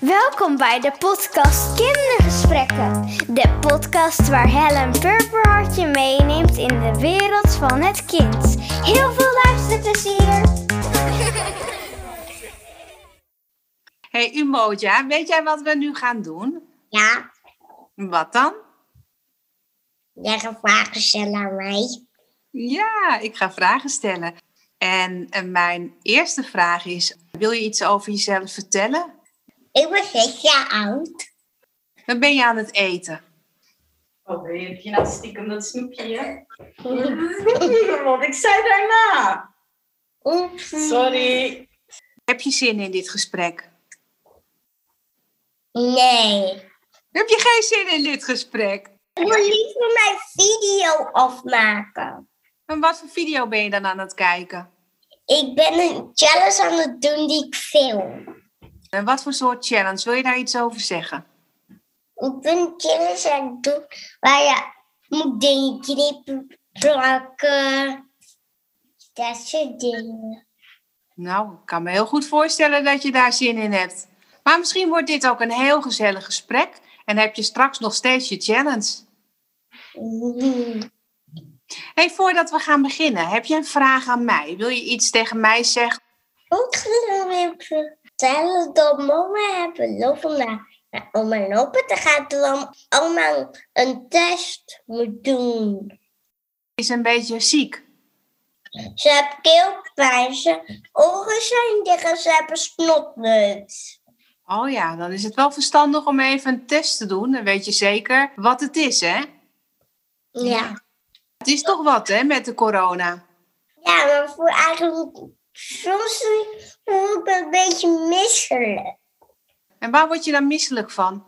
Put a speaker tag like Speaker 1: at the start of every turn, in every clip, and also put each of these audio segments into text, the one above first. Speaker 1: Welkom bij de podcast Kindergesprekken. De podcast waar Helen Purperhart je meeneemt in de wereld van het kind. Heel veel luisterplezier!
Speaker 2: hey, Umoja, weet jij wat we nu gaan doen?
Speaker 3: Ja,
Speaker 2: Wat dan?
Speaker 3: jij een vragen stellen aan mij.
Speaker 2: Ja, ik ga vragen stellen. En, eh, mijn eerste vraag is, wil je iets over jezelf vertellen?
Speaker 3: Ik ben zes jaar oud.
Speaker 2: Dan ben je aan het eten.
Speaker 4: Oh, ben je nou stiekem dat snoepje? hè? Want ik zei daarna.
Speaker 3: Oeps.
Speaker 4: Sorry.
Speaker 2: Heb je zin in dit gesprek?
Speaker 3: Nee.
Speaker 2: Heb je geen zin in dit gesprek?
Speaker 3: Ik wil liever mijn video afmaken.
Speaker 2: En wat voor video ben je dan aan het kijken?
Speaker 3: Ik ben een challenge aan het doen die ik film.
Speaker 2: En wat voor soort challenge? Wil je daar iets over zeggen?
Speaker 3: Ik ben een challenge aan het doen waar je moet dingen knippen, plakken. Dat soort dingen.
Speaker 2: Nou, ik kan me heel goed voorstellen dat je daar zin in hebt. Maar misschien wordt dit ook een heel gezellig gesprek en heb je straks nog steeds je challenge.
Speaker 3: Mm.
Speaker 2: Hey, voordat we gaan beginnen, heb je een vraag aan mij? Wil je iets tegen mij zeggen?
Speaker 3: Ook gelopen. Terwijl dat mama hebben lopen naar, naar oma lopen te gaan terwijl oma een test moet doen.
Speaker 2: Is een beetje ziek.
Speaker 3: Ze heeft keelpijn, ze oren zijn dicht en ze hebben snotneus.
Speaker 2: Oh ja, dan is het wel verstandig om even een test te doen. Dan weet je zeker wat het is, hè?
Speaker 3: Ja.
Speaker 2: Het is toch wat, hè, met de corona?
Speaker 3: Ja, maar voor eigenlijk soms voel ik me een beetje misselijk.
Speaker 2: En waar word je dan misselijk van?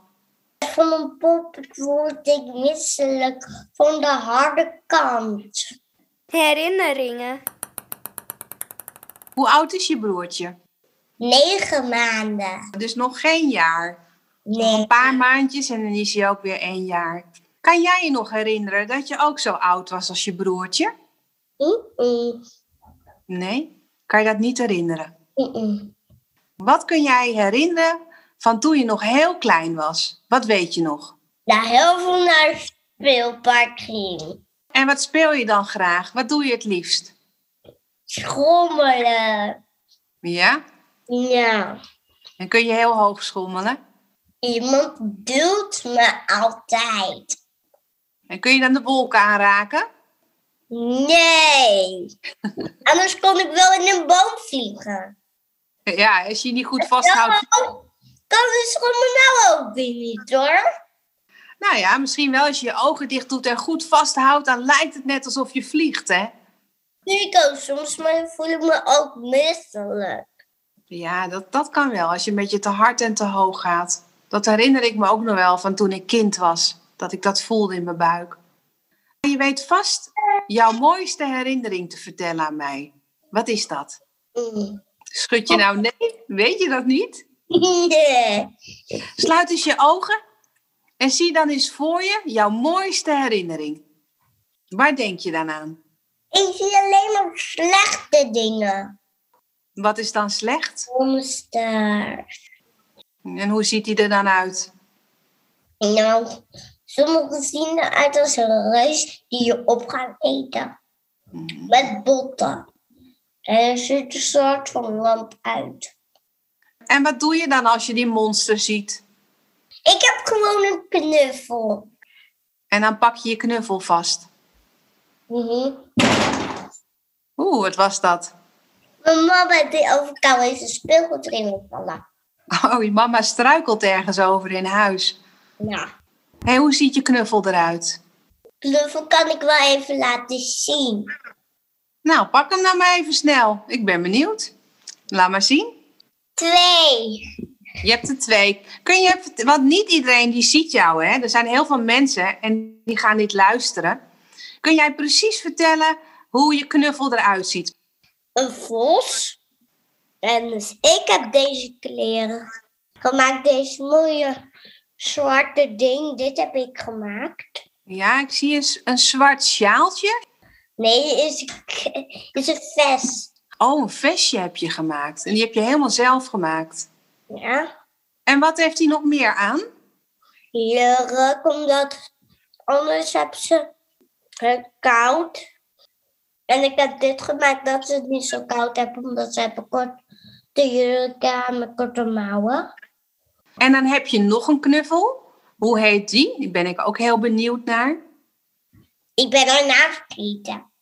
Speaker 3: Van mijn pop word ik misselijk van de harde kant.
Speaker 1: Herinneringen.
Speaker 2: Hoe oud is je broertje?
Speaker 3: Negen maanden.
Speaker 2: Dus nog geen jaar.
Speaker 3: Nee.
Speaker 2: Een paar maandjes en dan is hij ook weer één jaar. Kan jij je nog herinneren dat je ook zo oud was als je broertje?
Speaker 3: Mm-mm.
Speaker 2: Nee, kan je dat niet herinneren?
Speaker 3: Mm-mm.
Speaker 2: Wat kun jij herinneren van toen je nog heel klein was? Wat weet je nog?
Speaker 3: daar heel veel naar het speelpark ging.
Speaker 2: En wat speel je dan graag? Wat doe je het liefst?
Speaker 3: Schommelen.
Speaker 2: Ja?
Speaker 3: Ja.
Speaker 2: Dan kun je heel hoog schommelen.
Speaker 3: Iemand duwt me altijd.
Speaker 2: En kun je dan de wolken aanraken?
Speaker 3: Nee. Anders kon ik wel in een boom vliegen.
Speaker 2: Ja, als je je niet goed vasthoudt.
Speaker 3: Kan de schommel nou ook weer niet hoor.
Speaker 2: Nou ja, misschien wel als je je ogen dicht doet en goed vasthoudt, dan lijkt het net alsof je vliegt, hè?
Speaker 3: Doe ik ook soms, maar dan voel ik me ook misselijk.
Speaker 2: Ja, dat, dat kan wel. Als je een beetje te hard en te hoog gaat. Dat herinner ik me ook nog wel van toen ik kind was. Dat ik dat voelde in mijn buik. En je weet vast jouw mooiste herinnering te vertellen aan mij. Wat is dat?
Speaker 3: Mm.
Speaker 2: Schud je nou nee? Weet je dat niet?
Speaker 3: Nee.
Speaker 2: Sluit eens je ogen en zie dan eens voor je jouw mooiste herinnering. Waar denk je dan aan?
Speaker 3: Ik zie alleen maar slechte dingen.
Speaker 2: Wat is dan slecht?
Speaker 3: Monster.
Speaker 2: En hoe ziet die er dan uit?
Speaker 3: Nou, sommigen zien eruit als een reus die je op gaat eten. Met botten. En er zit een soort van lamp uit.
Speaker 2: En wat doe je dan als je die monster ziet?
Speaker 3: Ik heb gewoon een knuffel.
Speaker 2: En dan pak je je knuffel vast.
Speaker 3: Mhm.
Speaker 2: Oeh, wat was dat?
Speaker 3: Mijn mama die overkant heeft een speelgoed erin gevallen.
Speaker 2: Oh, je mama struikelt ergens over in huis.
Speaker 3: Nou,
Speaker 2: Hé, hoe ziet je knuffel eruit?
Speaker 3: knuffel kan ik wel even laten zien.
Speaker 2: Nou, pak hem nou maar even snel. Ik ben benieuwd. Laat maar zien.
Speaker 3: Twee.
Speaker 2: Je hebt er twee. Kun je even, want niet iedereen die ziet jou, hè? Er zijn heel veel mensen en die gaan niet luisteren. Kun jij precies vertellen hoe je knuffel eruit ziet?
Speaker 3: Een vos. En dus ik heb deze kleren gemaakt. Deze mooie zwarte ding. Dit heb ik gemaakt.
Speaker 2: Ja, ik zie een, s- een zwart sjaaltje.
Speaker 3: Nee, is, een k- is een vest.
Speaker 2: Oh, een vestje heb je gemaakt. En die heb je helemaal zelf gemaakt.
Speaker 3: Ja.
Speaker 2: En wat heeft hij nog meer aan?
Speaker 3: lurk, omdat anders hebben ze het koud. En ik heb dit gemaakt dat ze het niet zo koud hebben, omdat ze hebben kort de jurken aan met korte mouwen.
Speaker 2: En dan heb je nog een knuffel. Hoe heet die? Daar ben ik ook heel benieuwd naar.
Speaker 3: Ik ben daarna vergeten.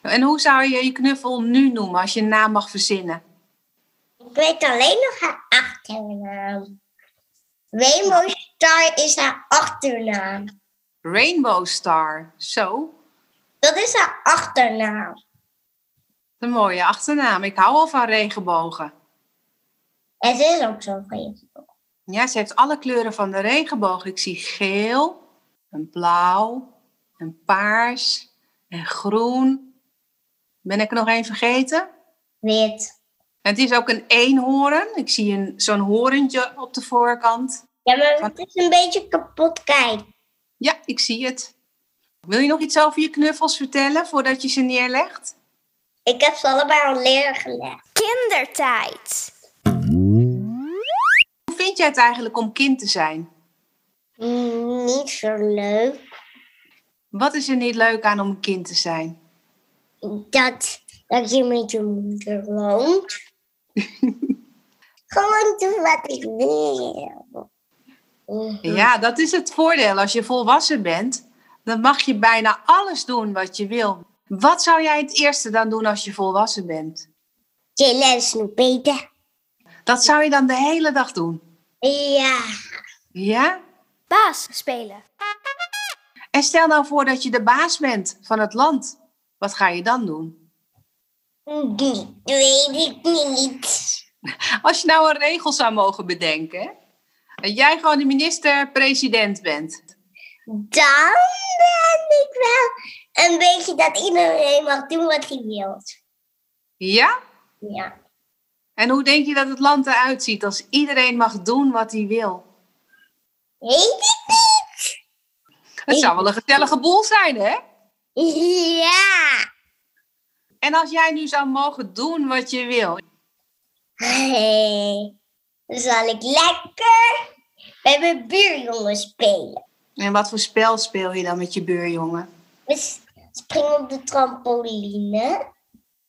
Speaker 2: En hoe zou je je knuffel nu noemen als je een naam mag verzinnen?
Speaker 3: Ik weet alleen nog haar achternaam. Rainbow Star is haar achternaam.
Speaker 2: Rainbow Star. Zo,
Speaker 3: Dat is haar achternaam.
Speaker 2: een mooie achternaam. Ik hou al van regenbogen.
Speaker 3: En ze is ook zo vreemd.
Speaker 2: Ja, ze heeft alle kleuren van de regenboog. Ik zie geel, een blauw, een paars en groen. Ben ik er nog één vergeten?
Speaker 3: Wit.
Speaker 2: Het is ook een eenhoorn. Ik zie een, zo'n horentje op de voorkant.
Speaker 3: Ja, maar het is een beetje kapot kijk.
Speaker 2: Ja, ik zie het. Wil je nog iets over je knuffels vertellen voordat je ze neerlegt?
Speaker 3: Ik heb ze allebei al leren gelegd.
Speaker 1: Kindertijd.
Speaker 2: Hoe vind jij het eigenlijk om kind te zijn?
Speaker 3: Mm, niet zo leuk.
Speaker 2: Wat is er niet leuk aan om een kind te zijn?
Speaker 3: Dat, dat je met je moeder woont. Gewoon doen wat ik wil. Mhm.
Speaker 2: Ja, dat is het voordeel. Als je volwassen bent, dan mag je bijna alles doen wat je wil. Wat zou jij het eerste dan doen als je volwassen bent?
Speaker 3: Chillen en snoepeten.
Speaker 2: Dat zou je dan de hele dag doen.
Speaker 3: Ja.
Speaker 2: Ja?
Speaker 1: Baas spelen.
Speaker 2: En stel nou voor dat je de baas bent van het land. Wat ga je dan doen?
Speaker 3: Die weet ik niet.
Speaker 2: Als je nou een regel zou mogen bedenken, hè? dat jij gewoon de minister-president bent.
Speaker 3: Dan ben ik wel een beetje dat iedereen mag doen wat hij wil.
Speaker 2: Ja?
Speaker 3: Ja.
Speaker 2: En hoe denk je dat het land eruit ziet als iedereen mag doen wat hij wil?
Speaker 3: Weet ik niet.
Speaker 2: Het zou wel een gezellige boel zijn, hè?
Speaker 3: Ja.
Speaker 2: En als jij nu zou mogen doen wat je wil,
Speaker 3: Hey, dan zal ik lekker bij mijn buurjongen spelen.
Speaker 2: En wat voor spel speel je dan met je buurjongen?
Speaker 3: We s- springen op de trampoline.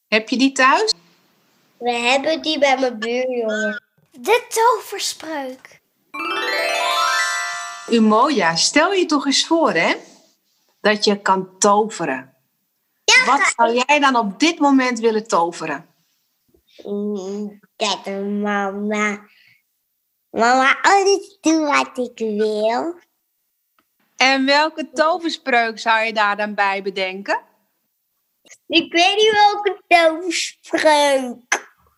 Speaker 2: Heb je die thuis?
Speaker 3: We hebben die bij mijn buurjongen.
Speaker 1: De toverspreuk.
Speaker 2: Umoja, stel je toch eens voor, hè? Dat je kan toveren. Wat zou jij dan op dit moment willen toveren?
Speaker 3: Mm, Dat mama. Mama, alles doen wat ik wil.
Speaker 2: En welke toverspreuk zou je daar dan bij bedenken?
Speaker 3: Ik weet niet welke toverspreuk.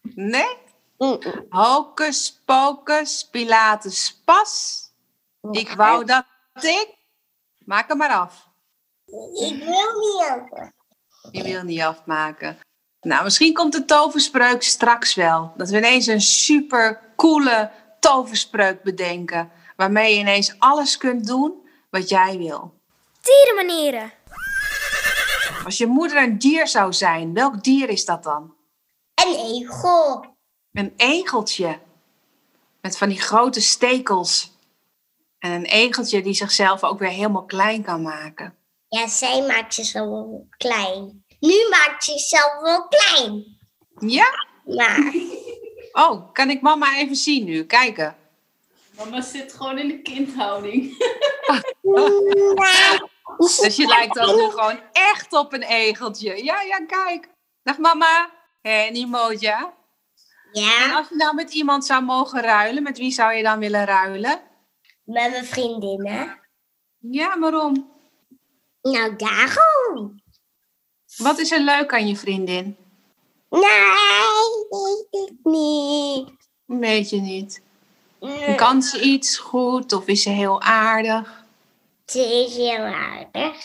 Speaker 2: Nee?
Speaker 3: Mm, mm.
Speaker 2: Hocus pocus, Pilatus pas. Ik wou dat ik... Maak hem maar af.
Speaker 3: Ik wil niet over.
Speaker 2: Je wil niet afmaken. Nou, misschien komt de toverspreuk straks wel. Dat we ineens een super coole toverspreuk bedenken. Waarmee je ineens alles kunt doen wat jij wil.
Speaker 1: Dierenmanieren.
Speaker 2: Als je moeder een dier zou zijn, welk dier is dat dan?
Speaker 3: Een egel.
Speaker 2: Een egeltje. Met van die grote stekels. En een egeltje die zichzelf ook weer helemaal klein kan maken.
Speaker 3: Ja, zij maakt zichzelf wel klein. Nu maakt ze zichzelf wel klein.
Speaker 2: Ja?
Speaker 3: Maar
Speaker 2: Oh, kan ik mama even zien nu? Kijken.
Speaker 4: Mama zit gewoon in de kindhouding.
Speaker 2: Dus je lijkt dan nu gewoon echt op een egeltje. Ja, ja, kijk. Dag mama. Hé, hey, Moja. En
Speaker 3: ja,
Speaker 2: als je nou met iemand zou mogen ruilen, met wie zou je dan willen ruilen?
Speaker 3: met mijn vriendinnen.
Speaker 2: Ja, waarom?
Speaker 3: Nou, daarom.
Speaker 2: Wat is er leuk aan je vriendin?
Speaker 3: Nee, weet ik niet.
Speaker 2: Weet je niet.
Speaker 3: Nee,
Speaker 2: Kan ze iets goed of is ze heel aardig?
Speaker 3: Ze is heel aardig.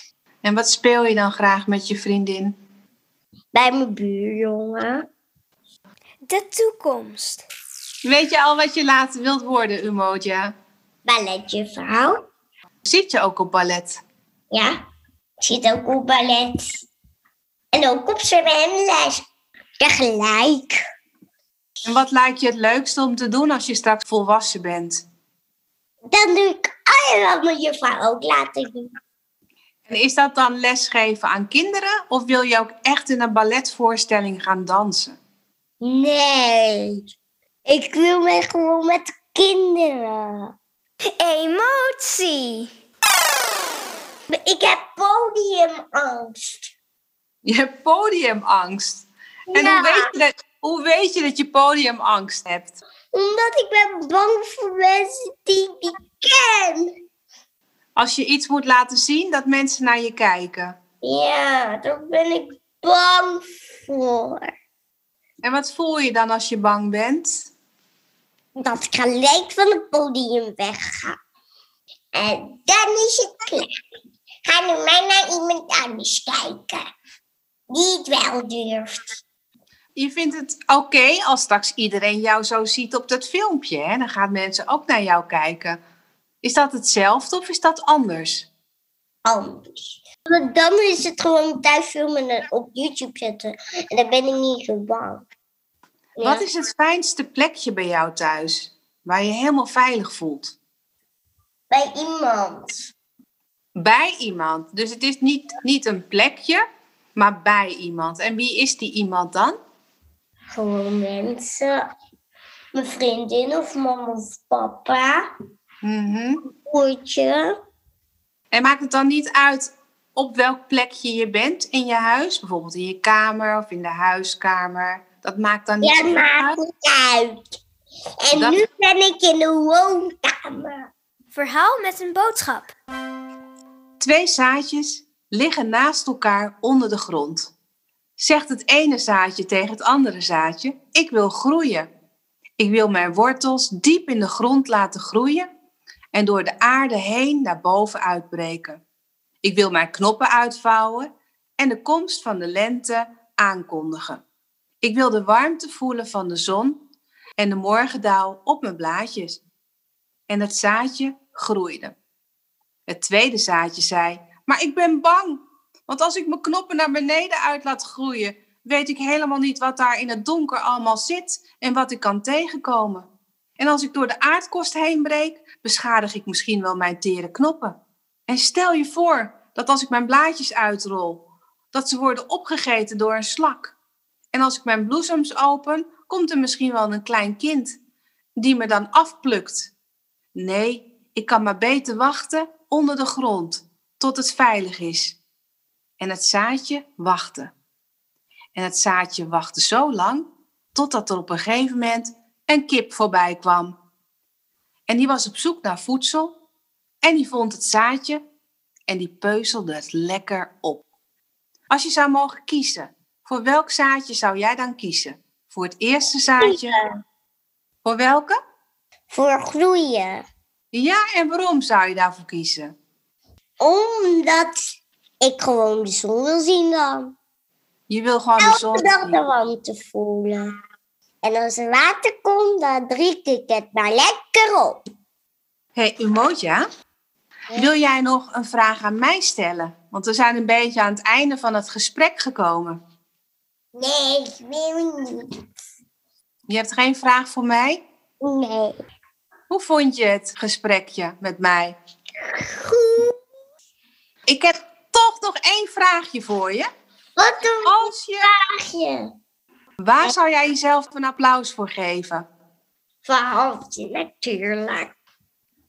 Speaker 2: En wat speel je dan graag met je vriendin?
Speaker 3: Bij mijn buurjongen.
Speaker 1: De toekomst.
Speaker 2: Weet je al wat je later wilt worden, Umoja?
Speaker 3: Balletjuffrouw.
Speaker 2: Zit je ook op ballet?
Speaker 3: Ja, zit ook op ballet. En ook op zwemles. Tegelijk.
Speaker 2: En wat lijkt je het leukste om te doen als je straks volwassen bent?
Speaker 3: Dan doe ik alles wat mijn juffrouw ook laten doen.
Speaker 2: En is dat dan lesgeven aan kinderen of wil je ook echt in een balletvoorstelling gaan dansen?
Speaker 3: Nee, ik wil me gewoon met kinderen.
Speaker 1: Emotie.
Speaker 3: Ik heb podiumangst.
Speaker 2: Je hebt podiumangst. En
Speaker 3: Ja.
Speaker 2: hoe, weet je dat, hoe weet je dat je podiumangst hebt?
Speaker 3: Omdat ik ben bang voor mensen die ik niet ken.
Speaker 2: Als je iets moet laten zien dat mensen naar je kijken.
Speaker 3: Ja, daar ben ik bang voor.
Speaker 2: En wat voel je dan als je bang bent?
Speaker 3: Dat ik gelijk van het podium wegga. En dan is het klaar. Ga nu maar naar iemand anders kijken. Die het wel durft.
Speaker 2: Je vindt het oké als straks iedereen jou zo ziet op dat filmpje. Hè? Dan gaan mensen ook naar jou kijken. Is dat hetzelfde of is dat anders?
Speaker 3: Anders. Want dan is het gewoon thuis filmen en op YouTube zetten. En dan ben ik niet zo bang. Ja.
Speaker 2: Wat is het fijnste plekje bij jou thuis? Waar je helemaal veilig voelt?
Speaker 3: Bij iemand.
Speaker 2: Bij iemand. Dus het is niet, niet een plekje, maar bij iemand. En wie is die iemand dan?
Speaker 3: Gewoon mensen. Mijn vriendin of mama of papa.
Speaker 2: Mhm.
Speaker 3: Broertje.
Speaker 2: En maakt het dan niet uit op welk plekje je bent in je huis? Bijvoorbeeld in je kamer of in de huiskamer. Dat maakt dan niet
Speaker 3: Ja,
Speaker 2: zoveel uit.
Speaker 3: maakt niet uit. En
Speaker 2: Dat-
Speaker 3: nu ben ik in de woonkamer.
Speaker 1: Verhaal met een boodschap.
Speaker 2: Twee zaadjes liggen naast elkaar onder de grond. Zegt het ene zaadje tegen het andere zaadje: Ik wil groeien. Ik wil mijn wortels diep in de grond laten groeien en door de aarde heen naar boven uitbreken. Ik wil mijn knoppen uitvouwen en de komst van de lente aankondigen. Ik wil de warmte voelen van de zon en de morgendauw op mijn blaadjes. En het zaadje groeide. Het tweede zaadje zei: Maar ik ben bang, want als ik mijn knoppen naar beneden uit laat groeien, weet ik helemaal niet wat daar in het donker allemaal zit en wat ik kan tegenkomen. En als ik door de aardkost heen breek, beschadig ik misschien wel mijn tere knoppen. En stel je voor dat als ik mijn blaadjes uitrol, dat ze worden opgegeten door een slak. En als ik mijn bloesems open, komt er misschien wel een klein kind die me dan afplukt Nee, ik kan maar beter wachten onder de grond tot het veilig is. En het zaadje wachtte. En het zaadje wachtte zo lang totdat er op een gegeven moment een kip voorbij kwam. En die was op zoek naar voedsel en die vond het zaadje en die peuzelde het lekker op. Als je zou mogen kiezen, voor welk zaadje zou jij dan kiezen? Voor het eerste zaadje? Voor welke?
Speaker 3: Voor groeien.
Speaker 2: Ja, en waarom zou je daarvoor kiezen?
Speaker 3: Omdat ik gewoon de zon wil zien dan.
Speaker 2: Je wil gewoon de zon
Speaker 3: Elke dag
Speaker 2: zien.
Speaker 3: de warmte voelen. En als er water komt, dan drink ik het maar lekker op.
Speaker 2: hey, Umoja, wil jij nog een vraag aan mij stellen? Want we zijn een beetje aan het einde van het gesprek gekomen.
Speaker 3: Nee, ik wil niet.
Speaker 2: Je hebt geen vraag voor mij?
Speaker 3: Nee.
Speaker 2: Hoe vond je het gesprekje met mij?
Speaker 3: Goed.
Speaker 2: Ik heb toch nog één vraagje voor je.
Speaker 3: Wat een
Speaker 2: Als je...
Speaker 3: vraagje.
Speaker 2: Waar zou jij jezelf een applaus voor geven?
Speaker 3: Verhaaltje, natuurlijk.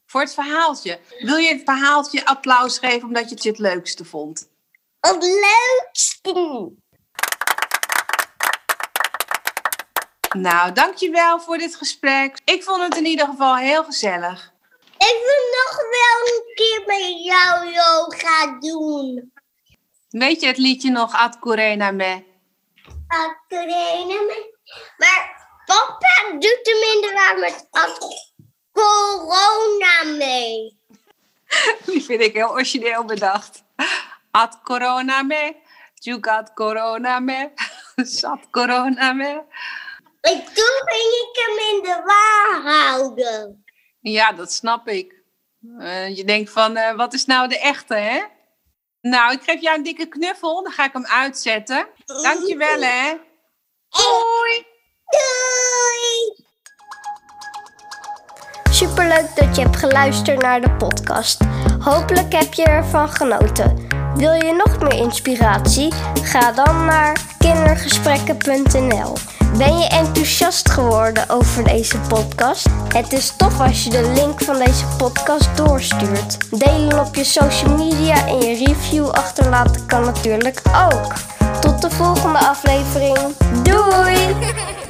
Speaker 2: Voor het verhaaltje. Wil je het verhaaltje applaus geven omdat je het het leukste vond?
Speaker 3: Het leukste.
Speaker 2: Nou, dankjewel voor dit gesprek. Ik vond het in ieder geval heel gezellig.
Speaker 3: Ik wil nog wel een keer met jou yoga doen.
Speaker 2: Weet je het liedje nog, Ad Corena Me?
Speaker 3: Academie. Maar papa doet hem in de war met ad- corona mee.
Speaker 2: Die vind ik heel origineel bedacht. Ad Corona Me, Jugat Corona Me, Zat Corona Me.
Speaker 3: En toen ging ik hem in de war houden.
Speaker 2: Ja, dat snap ik. Eh, je denkt van, eh, wat is nou de echte, hè? Nou, ik geef jou een dikke knuffel, dan ga ik hem uitzetten. Dankjewel, hè? Doei!
Speaker 3: Doei!
Speaker 1: superleuk dat je hebt geluisterd naar de podcast. Hopelijk heb je ervan genoten. Wil je nog meer inspiratie? Ga dan naar kindergesprekken.nl. Ben je enthousiast geworden over deze podcast? Het is tof als je de link van deze podcast doorstuurt. Delen op je social media en je review achterlaten kan natuurlijk ook. Tot de volgende aflevering. Doei!